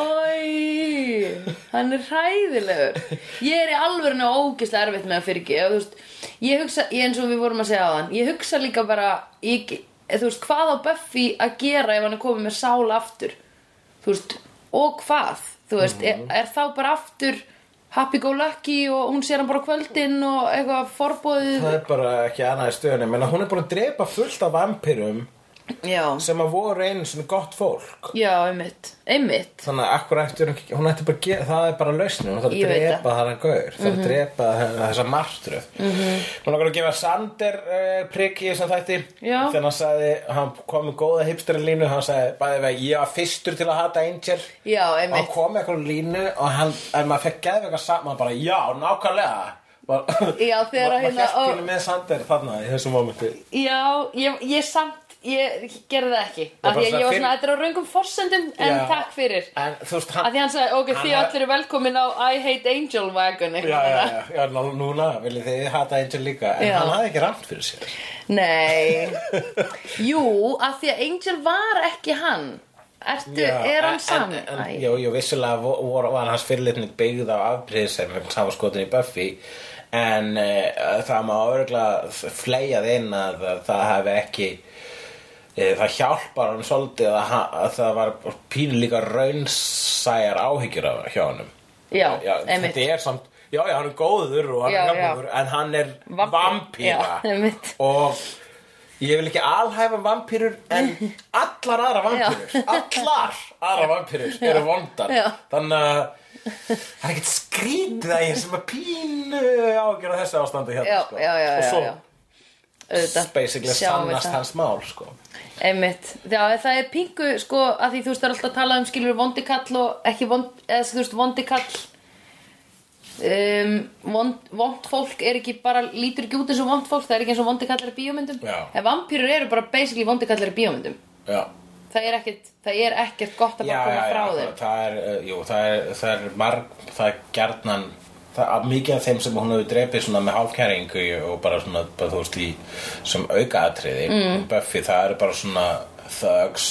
Speaker 2: Æ, hann er hræðilegur Ég er í alvörinu ógislega erfitt með að fyrirgi Þú veist, ég hugsa, ég eins og við vorum að segja á hann Ég hugsa líka bara ég, Þú veist, hvað á Buffy að gera ef hann er komið með sál aftur Þú veist, og hvað Þú veist,
Speaker 1: Mhm.
Speaker 2: er, er þá bara aftur Happy go lucky og hún sér hann bara á kvöldin og eitthvað forbóðið
Speaker 1: það er bara ekki annað í stöðunni menn hún er búin að drepa fullt af vampirum
Speaker 2: Já,
Speaker 1: sem að voru einu sem gott fólk
Speaker 2: já, einmitt Einmitt
Speaker 1: þannig að akkur eftir hún ætti bara að gera það er bara lausnum hún þarf
Speaker 2: Ég
Speaker 1: að
Speaker 2: veit Mhm.
Speaker 1: drepa þaðan gaur þarf að drepa þessa martru -hmm. hún er að gefa Sander uh, prigg í þessum þætti
Speaker 2: Já.
Speaker 1: þannig að hann sagði hann kom með góða hipstera línu hann sagði bæði vegi ég var fyrstur til að hata Angel
Speaker 2: Já,
Speaker 1: og hann
Speaker 2: einmitt
Speaker 1: kom með eitthvað línu og hann, en maður fekk geðveika saman bara, já, nákvæmlega bara,
Speaker 2: Já, þegar að
Speaker 1: maður
Speaker 2: hérna-
Speaker 1: hérna
Speaker 2: ó.
Speaker 1: maður hérna með Sander þarna í þessu mómenti
Speaker 2: Já, ég, ég samt, ég gerði það ekki
Speaker 1: bara
Speaker 2: Af því að
Speaker 1: svona
Speaker 2: ég var
Speaker 1: fyrir-
Speaker 2: svona, þetta er á raungum forsendum En
Speaker 1: Já.
Speaker 2: takk fyrir
Speaker 1: en þú veist,
Speaker 2: Af
Speaker 1: hann
Speaker 2: því hann sagði, ok,
Speaker 1: Hann
Speaker 2: þið
Speaker 1: hafði-
Speaker 2: allir er velkomin á I hate angel wagon
Speaker 1: já, já, já, já, nú- núna viljið þið hata Angel líka en
Speaker 2: Já.
Speaker 1: hann hafði ekki rangt fyrir sér
Speaker 2: Nei Jú, af því að angel var ekki hann Ertu, er hann
Speaker 1: en,
Speaker 2: sami?
Speaker 1: en,
Speaker 2: Æ.
Speaker 1: jú, jú, vissulega vo- voru, var hans fyrirlitning byggð á afbríð sem hann var skotin í Buffy en uh, það má örgulega flegjað inn að að það hefði ekki e, það hjálpar hann svolítið að, ha- að það var pínu líka raunsæjar áhyggjur af hjá honum
Speaker 2: Já,
Speaker 1: já,
Speaker 2: einmitt
Speaker 1: þetta er samt já, já, hann er góður og hann
Speaker 2: Já,
Speaker 1: er hjálpur en hann er
Speaker 2: Vampíra.
Speaker 1: vampíra
Speaker 2: Já, einmitt.
Speaker 1: og Ég vil ekki alhæfa vampýrur en allar aðra vampýrur, allar aðra vampýrur eru vondar.
Speaker 2: Já.
Speaker 1: Þannig að það er ekkert skrítið að ég sem að pínu ágjöra þessu ástandi hérna.
Speaker 2: Já,
Speaker 1: sko.
Speaker 2: já, já,
Speaker 1: Og
Speaker 2: já,
Speaker 1: svo
Speaker 2: já. Auðvitað.
Speaker 1: basically
Speaker 2: Sjáum við
Speaker 1: sannast
Speaker 2: það.
Speaker 1: hans mál, sko.
Speaker 2: Einmitt, já það er pingu sko að því þú veist það er alltaf að tala um skilur vondi kall og ekki vond, eða þú veist vondi kall um, vond, vond fólk er ekki bara, lítur ekki út eins og vond fólk það er ekki eins og vondi kallar í bíómyndum
Speaker 1: Já.
Speaker 2: en vampýrur eru bara basically vondi kallar í bíómyndum
Speaker 1: Já.
Speaker 2: það er ekkert, það er ekkert gott að
Speaker 1: Já,
Speaker 2: bara
Speaker 1: já,
Speaker 2: koma
Speaker 1: já,
Speaker 2: frá þeim
Speaker 1: það er, uh, jú, það er, það er marg, það er gjarnan, það er mikið af þeim sem hún hefur drepið svona með hálfkæringu og bara svona, bara, þú veist, í, sem aukaatriði, mm. Buffy, það eru bara svona thugs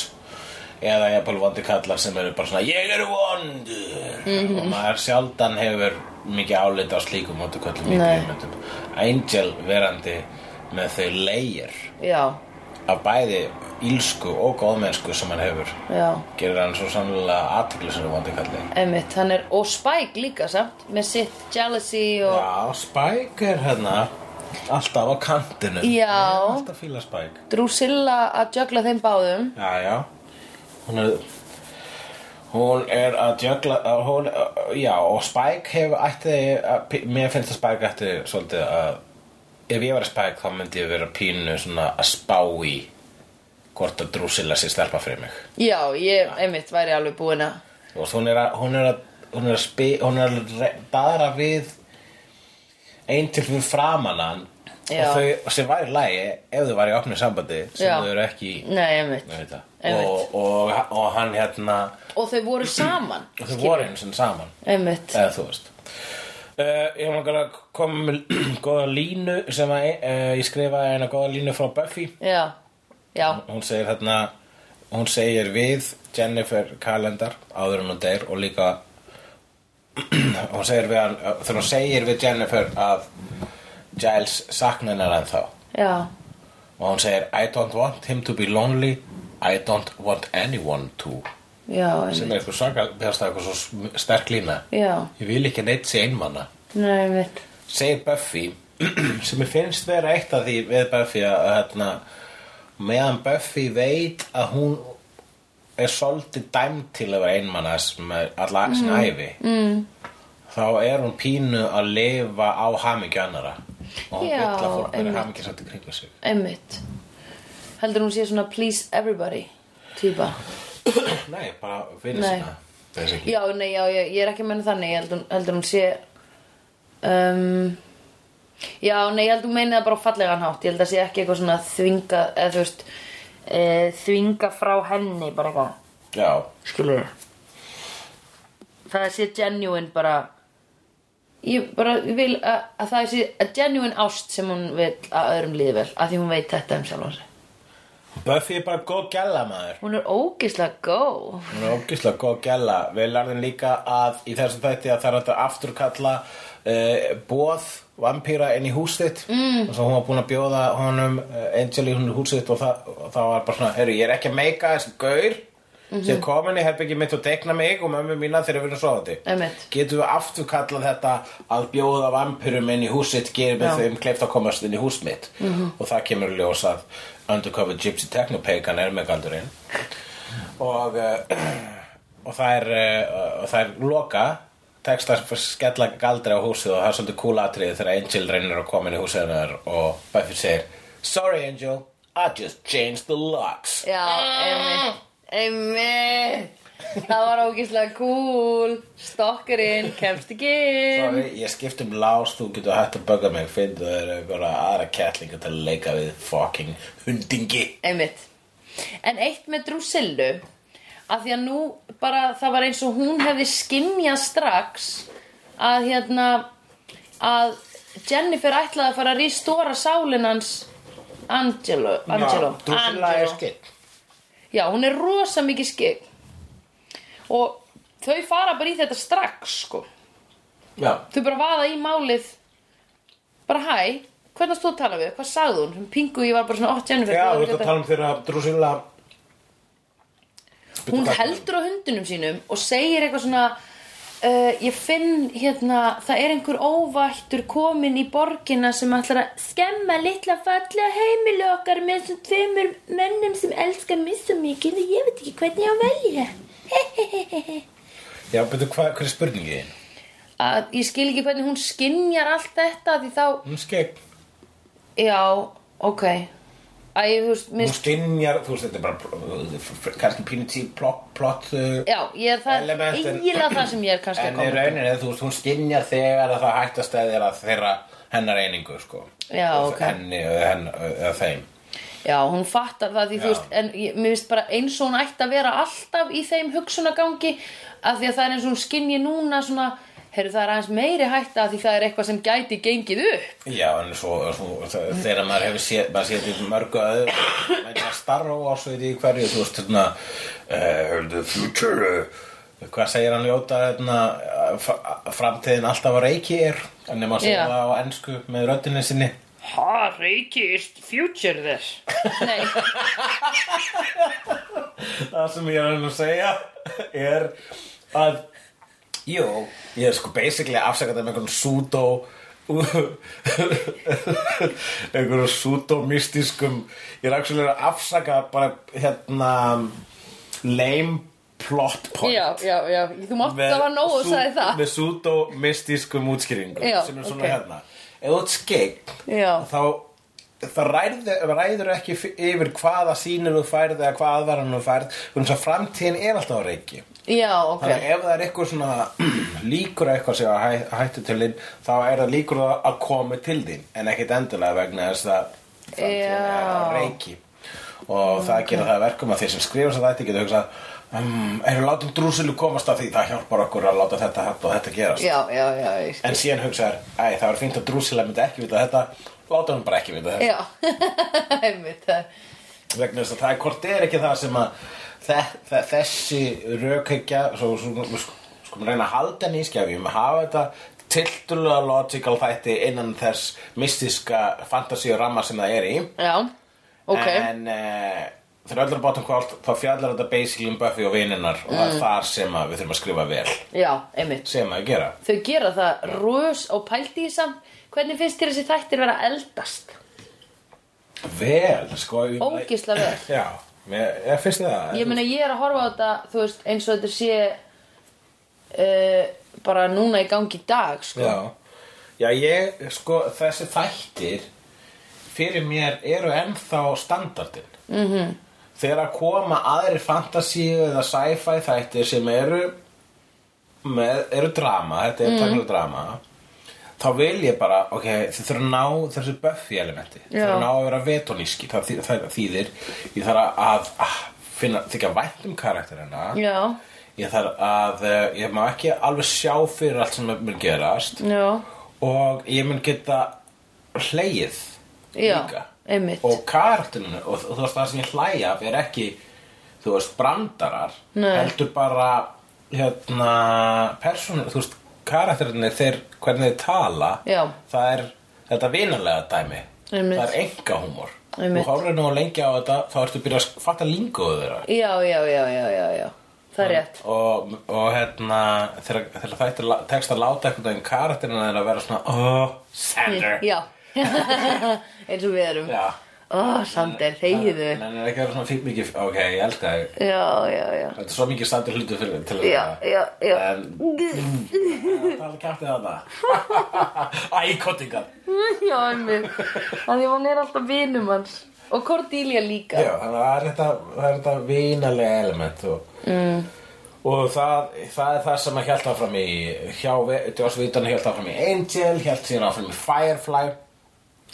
Speaker 1: eða jafnvel vondi kallar sem eru bara svona, ég eru vondur
Speaker 2: Mhm.
Speaker 1: og maður sjaldan hefur mikið álit á slíkum vondi kallum í
Speaker 2: Nei.
Speaker 1: bíómyndum. Angel verandi með þau leir
Speaker 2: já,
Speaker 1: af bæði ílsku og góðmennsku sem hann hefur
Speaker 2: já,
Speaker 1: gerir hann svo sannlega aðtekli sem er vondi kallið
Speaker 2: einmitt hann er, og Spike líka samt með sitt jealousy og
Speaker 1: Já, Spike er hérna alltaf á kantinu
Speaker 2: Já.
Speaker 1: Ég er Alltaf fíla Spike
Speaker 2: Drusilla að jögla þeim báðum
Speaker 1: Já, já Hún er Hún er að jögla uh, hún, uh, Já, og Spike hefur ætti að, pi- Mér finnst að Spike ætti svolítið að Ef ég var Spike þá myndi ég vera pínu svona að spá í hvort að drúsila sér stelpa fyrir mig
Speaker 2: já, ég, einmitt, væri alveg búin að
Speaker 1: og hún er að hún er að, hún er að, spi, hún er að re- daðra við ein til við framan hann
Speaker 2: Já.
Speaker 1: og þau sem væri lægi ef þau væri í opnu sambandi sem
Speaker 2: Já.
Speaker 1: þau eru ekki í
Speaker 2: Nei, einmitt.
Speaker 1: ég veit það.
Speaker 2: Einmitt.
Speaker 1: og, og, og hann hérna
Speaker 2: Og þau voru saman.
Speaker 1: og þau voru Eh. einu sinni saman
Speaker 2: Einmitt.
Speaker 1: eða þú veist Uh, ég var að koma með góða línu sem að, uh, ég skrifaði eina góða línu frá Buffy
Speaker 2: Já, já,
Speaker 1: hún segir hérna hún segir við Jennifer Calendar áður en hún deyr og líka hún segir við hann þegar hún segir við Jennifer að Giles sakna hennar ennþá
Speaker 2: já,
Speaker 1: og hún segir I don't want him to be lonely I don't want anyone to
Speaker 2: já,
Speaker 1: sem
Speaker 2: einmitt.
Speaker 1: er eitthvað svaka, það er eitthvað svo sm- sterk lína
Speaker 2: Já,
Speaker 1: ég vil ekki neitt sé einmanna
Speaker 2: nei, einmitt.
Speaker 1: segir Buffy sem ég finnst vera eitt af því við Buffy að að hérna, meðan Buffy veit að hún er svolítið dæmd til að vera einmanna sem er alla sinna æfi mm. þá er hún pínu að lifa á hamingju annara og hún
Speaker 2: Já,
Speaker 1: vill að fólk verið
Speaker 2: einmitt.
Speaker 1: hamingju satt í kringu sig
Speaker 2: Einmitt. Heldur hún sé svona please everybody týpa.
Speaker 1: nei, bara fyrir
Speaker 2: Nei.
Speaker 1: sinna basically.
Speaker 2: Já, nei, já, ég, ég er ekki að menna þannig. Ég heldur, heldur hún sé... Um, já, nei, ég heldur hún meina það bara á fallegan hátt. Ég held að sé ekki eitthvað svona þvinga, eða þú veist, e, þvinga frá henni bara eitthvað.
Speaker 1: já,
Speaker 2: skilur það sé genuine bara ég bara vil að, að það sé að genuine ást sem hún vil að öðrum líði vel að því hún veit þetta um sjálf sig
Speaker 1: Buffy er bara góð gæla maður
Speaker 2: hún er ógeðslega góð
Speaker 1: Hún er ógislega góð að gæla. Við lærðum líka að í þessum þætti að það er hægt að afturkalla uh, bóð vampýra inn í hús þitt. Mm. Og svo hún var búin að bjóða honum uh, Angel í hún í hús þitt og það, og það var bara svona, herru, ég er ekki að meika þessi gaur
Speaker 2: Mhm.
Speaker 1: sem komin í herbyggi mitt og dekna mig og mömmu mína þegar við erum svoðandi.
Speaker 2: Einmitt.
Speaker 1: Getum við afturkallað þetta að bjóða vampýrum inn í hús þitt, gerum við
Speaker 2: Já. Mhm.
Speaker 1: þeim kleift að komast inn í hús mitt. -hmm. Og það kemur í ljós að Undercover Gypsy Technopagan er með galdurinn og, uh, og það er uh, og það er loka textar fyrir skella galdri á húsið og það er svolítið cool atriði þegar Angel reynir að koma inn í húsið hennar og Buffy segir Sorry Angel, I just changed the locks
Speaker 2: já, einmitt einmitt það var ógeðslega cool stokkurinn kemst ekki inn
Speaker 1: Sorry, ég skipt um lás, þú getur hægt að bugga mig finnðu þeir einhverja aðra kettlinga til að leika við fucking hundingi
Speaker 2: einmitt en eitt með Drusillu að því að nú bara það var eins og hún hefði skinjað strax að hérna að Jennifer ætlaði að fara að rístóra sálin hans Angelo, Angelo,
Speaker 1: Já, Drusilla er skeitt
Speaker 2: já hún er rosa mikið skik og þau fara bara í þetta strax sko
Speaker 1: Já,
Speaker 2: þau bara vaða í málið bara hæ, hvernig varst þú að tala við hvað sagði hún, pingu ég var bara svona 8 Jennifer
Speaker 1: Já þú
Speaker 2: hvað
Speaker 1: ert
Speaker 2: var
Speaker 1: að
Speaker 2: þetta?"
Speaker 1: tala um þeirra Drusilla
Speaker 2: hún heldur á hundunum sínum og segir eitthvað svona uh, ég finn hérna, það er einhver óvættur komin í borgina sem ætlar að skemma litla fallega heimili okkar með þessum tveimur mönnum sem elskar mig svo mikið og ég veit ekki hvernig ég á að velja.
Speaker 1: Já, betur hvað, hver er spurningið þín?
Speaker 2: Að ég skil ekki hvernig hún skinjar allt þetta því þá,
Speaker 1: Hún skegg,
Speaker 2: já, ok. Æ, þú veist,
Speaker 1: hún
Speaker 2: mér,
Speaker 1: skinjar, þú veist, þetta er bara uh, kannski pínu tí plott, plott uh,
Speaker 2: já, ég er það
Speaker 1: element, en-
Speaker 2: eiginlega það sem ég er kannski að
Speaker 1: En í
Speaker 2: koma. til.
Speaker 1: rauninni, þú veist, hún skinjar þegar að það hættast að þeirra, þeirra hennar einingu, sko.
Speaker 2: Já, ok.
Speaker 1: Henni, eða henn, eða þeim.
Speaker 2: Já, hún fattar það því þú
Speaker 1: Já.
Speaker 2: veist, en ég, mér finnst bara eins og hún ætti að vera alltaf í þeim hugsunagangi af því að það er eins og hún skinji núna svona, heyrðu það er aðeins meiri hætta af því það er eitthvað sem gæti gengið upp.
Speaker 1: Já, en svo, svo þe- þegar maður hefur séð, maður séð þetta í mörgu öðru, maður er starra á ásveiti í hverju, þú veist, þarna, uh, the future, uh, hvað segir hann ljóta, þarna, uh, fa- framtíðin alltaf að reiki er, en nema að segja
Speaker 2: Já.
Speaker 1: það á ensku með röddinni sinni.
Speaker 2: Ha, reiki is the future þess. Nei,
Speaker 1: það sem ég er að reyna að segja er að jú, ég er sko basically afsakað með einhvern pseudo einhverjum pseudo-mystískum ég er actually að afsaka bara hérna lame plot point
Speaker 2: já, já, já, þú mátt að var nóg og sagði það.
Speaker 1: með pseudo-mystískum útskýringum
Speaker 2: Já,
Speaker 1: sem er svona
Speaker 2: ok.
Speaker 1: hérna ef þú ert skeik
Speaker 2: Já.
Speaker 1: þá það ræður, ræður ekki f- yfir hvaða sínir þú færð eða hvað aðvaran þú færð þannig að framtíðin er alltaf á reiki
Speaker 2: Já, ok.
Speaker 1: þannig að ef það er eitthvað svona líkur að eitthvað sé að hæ, hættu til þín þá er það líkur að að komi til þín en ekkit endilega vegna þess að framtíðin er á
Speaker 2: Já.
Speaker 1: reiki og það gerir það að verkum að þeir sem skrifa þess að þetta geta hugsað um, erum látum drúsilu komast að því það hjálpar okkur að láta þetta hætt og þetta gerast
Speaker 2: Já, já, já, ég skil.
Speaker 1: en síðan hugsaðar, æ það var fínt að drúsilega myndi ekki vita þetta, láta hann bara ekki vita þetta
Speaker 2: Já, einmitt það.
Speaker 1: vegna þess að það er hvort er ekki það sem að þe þe þessi rökheggja svo, svo, sko, sko maður reyna að halda henni í skefjum hafa þetta tildulega logical þætti innan þess mystiska fantasíu ramma sem það er í
Speaker 2: Já, ok.
Speaker 1: en uh, þegar öllu er bátum kvöld þá fjallar þetta basically um Buffy og vininnar og
Speaker 2: Mm.
Speaker 1: það er þar sem að við þurfum að skrifa vel
Speaker 2: Já, einmitt.
Speaker 1: sem að gera
Speaker 2: Þau gera það rös og pældi í samt. Hvernig finnst þér þessi þættir vera að eldast?
Speaker 1: vel sko ég-
Speaker 2: Ógeðslega vel.
Speaker 1: já, ég, ég finnst það
Speaker 2: Ég meina ég er að horfa á þetta, þú veist, eins og þetta sé uh, bara núna í gangi í dag, sko.
Speaker 1: Já, já ég, sko, þessi þættir fyrir mér eru ennþá standardin. Mm
Speaker 2: Mhm.
Speaker 1: -hmm. Þegar að koma aðri fantasíu eða sci-fi þættir sem eru, með, eru drama, þetta
Speaker 2: Mhm.
Speaker 1: er mm. drama, þá vil ég bara, ok, þið þurfa að ná þessu Buffy elementi. Þið
Speaker 2: Já.
Speaker 1: þurfa að ná að vera vetoníski, það, þý- það þýðir, ég þarf að, að finna, þykja vænt um karakterina.
Speaker 2: Já,
Speaker 1: Ég þarf að, eh, ég má ekki alveg sjá fyrir allt sem mun gerast
Speaker 2: já,
Speaker 1: og ég mun geta hleið
Speaker 2: já,
Speaker 1: líka
Speaker 2: einmitt.
Speaker 1: og kartinu og þú veist það sem ég hlæja af er ekki þú veist brandarar
Speaker 2: Nei.
Speaker 1: heldur bara hérna persónur, þú veist karakterinni þeir hvernig þeir tala
Speaker 2: Já.
Speaker 1: það er þetta vinalega dæmi
Speaker 2: Einmitt.
Speaker 1: það er enga húmor
Speaker 2: Einmitt.
Speaker 1: þú horfir nú lengi á þetta þá ertu að byrja að fatta linguðu þeirra
Speaker 2: Já, já, já, já, já, já, það er rétt.
Speaker 1: og, og hérna þegar, þegar þættir la- tekst að láta einhvern veginn karakterina þeirra vera svona oh, Sander
Speaker 2: Já, eins og við erum.
Speaker 1: Já.
Speaker 2: Ó, Sander, þegiðu.
Speaker 1: En hann er ekki að vera svona fík mikið Ok, ég held að
Speaker 2: Já, já, já.
Speaker 1: Þetta er svo mikið standur hlutu fyrir til
Speaker 2: Já,
Speaker 1: að-
Speaker 2: já, já.
Speaker 1: En Það er kjáttið að það Æ, kottingar
Speaker 2: Já, einmitt. Þannig að hann er alltaf vinum hans. Og Cordelia líka.
Speaker 1: Já, þannig að það er þetta, það er þetta vinalega element og, mm. og það, það er það sem að hjælt áfram í hjá, Joss Vítan hjælt áfram í Angel, hjælt síðan áfram í Firefly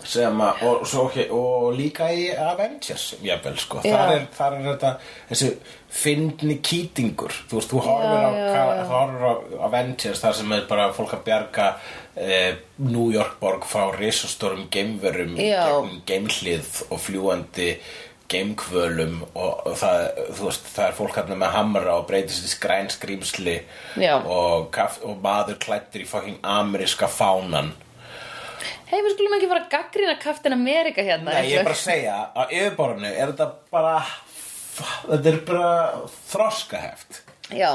Speaker 1: sem að, og, svo, og líka í Avengers, jafnvel, sko
Speaker 2: Já.
Speaker 1: þar er, þar er þetta, þessi fyndni kýtingur, þú veist, þú horfir á,
Speaker 2: já,
Speaker 1: ka- þú horfir á Avengers þar sem er bara fólk að bjarga eh, New York borg frá risastórum geimverum í
Speaker 2: Já.
Speaker 1: gegnum geimhlið og fljúandi geimkvölum og það, þú veist, það er fólk hérna með hamra og breytist í skræn skrýmsli
Speaker 2: Já.
Speaker 1: og, kaff, og maður klættir í fucking ameríska fánan
Speaker 2: Hei, við skulum ekki fara að gaggrina Captain America hérna.
Speaker 1: Nei, ég er
Speaker 2: eins og-
Speaker 1: bara að segja að yfirborðinu er þetta bara þetta er bara þroskaheft
Speaker 2: Já,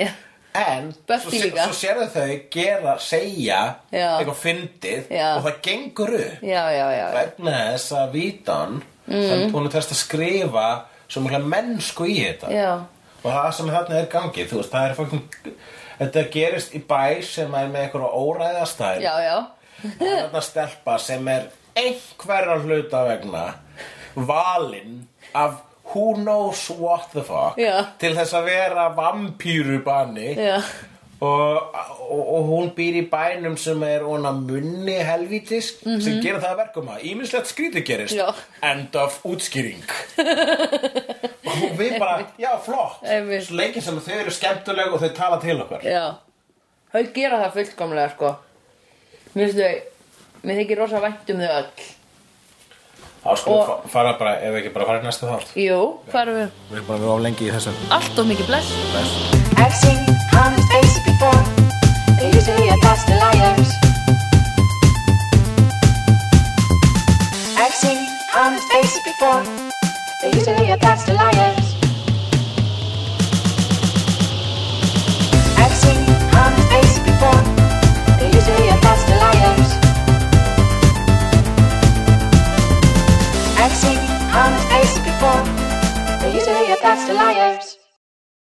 Speaker 2: já.
Speaker 1: En
Speaker 2: Buffy
Speaker 1: svo,
Speaker 2: líka.
Speaker 1: svo sérðu þau gera, segja
Speaker 2: Já.
Speaker 1: eitthvað fyndið
Speaker 2: Já.
Speaker 1: og það gengur upp
Speaker 2: já, já, já, já.
Speaker 1: vegna þess að vítan mm. sem hún er test að skrifa svo mjög mennsku í þetta
Speaker 2: já.
Speaker 1: og það sem þarna er gangið þú veist, það er fucking þetta gerist í bæ sem er með einhverja óræðastæl
Speaker 2: Já, já,
Speaker 1: það er þarna stelpa sem er einhverja hluta vegna valinn af who knows what the fuck
Speaker 2: Já.
Speaker 1: til þess að vera vampýrubanni
Speaker 2: já,
Speaker 1: og, og, og hún býr í bænum sem er ona munni helvítisk sem gera það að verkum að ímislegt skrítið gerist
Speaker 2: Mhm. Já.
Speaker 1: end of útskýring og við bara, já flott
Speaker 2: Einmitt.
Speaker 1: svo lengi sem þau eru skemmtuleg og þau tala til okkar
Speaker 2: já. Þau gera það fullkomlega, sko. Mér finnst þau, mér þykir rosa vænt um þau öll.
Speaker 1: þá
Speaker 2: Og-
Speaker 1: sko fara bara, ef ekki bara fara í næsta þátt
Speaker 2: Jú, hvað erum við?
Speaker 1: við erum bara við á lengi í þessum
Speaker 2: Allt of mikið bless.
Speaker 3: I've seen honest faces before. They usually are past the liars. I've seen honest faces before. They usually are past the liars. I've seen honest faces before. They usually are past the liars. I've seen honest faces before. They usually are past the liars.